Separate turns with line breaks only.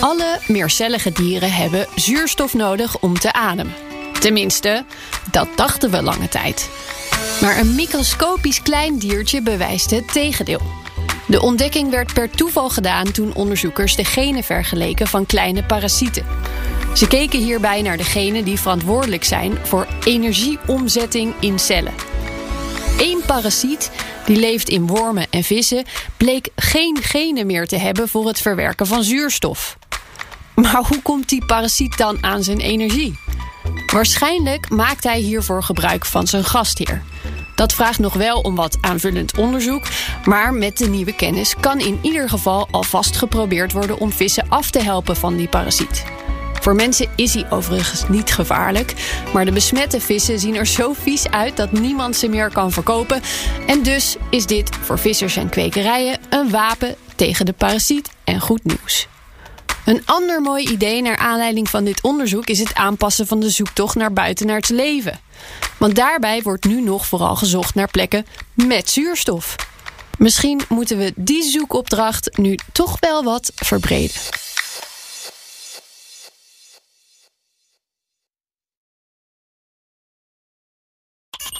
Alle meercellige dieren hebben zuurstof nodig om te ademen. Tenminste, dat dachten we lange tijd. Maar een microscopisch klein diertje bewijst het tegendeel. De ontdekking werd per toeval gedaan toen onderzoekers de genen vergeleken van kleine parasieten. Ze keken hierbij naar de genen die verantwoordelijk zijn voor energieomzetting in cellen. Eén parasiet, die leeft in wormen en vissen, bleek geen genen meer te hebben voor het verwerken van zuurstof. Maar hoe komt die parasiet dan aan zijn energie? Waarschijnlijk maakt hij hiervoor gebruik van zijn gastheer. Dat vraagt nog wel om wat aanvullend onderzoek, maar met de nieuwe kennis kan in ieder geval alvast geprobeerd worden om vissen af te helpen van die parasiet. Voor mensen is hij overigens niet gevaarlijk, maar de besmette vissen zien er zo vies uit dat niemand ze meer kan verkopen. En dus is dit voor vissers en kwekerijen een wapen tegen de parasiet en goed nieuws. Een ander mooi idee naar aanleiding van dit onderzoek is het aanpassen van de zoektocht naar buitenaards leven. Want daarbij wordt nu nog vooral gezocht naar plekken met zuurstof. Misschien moeten we die zoekopdracht nu toch wel wat verbreden.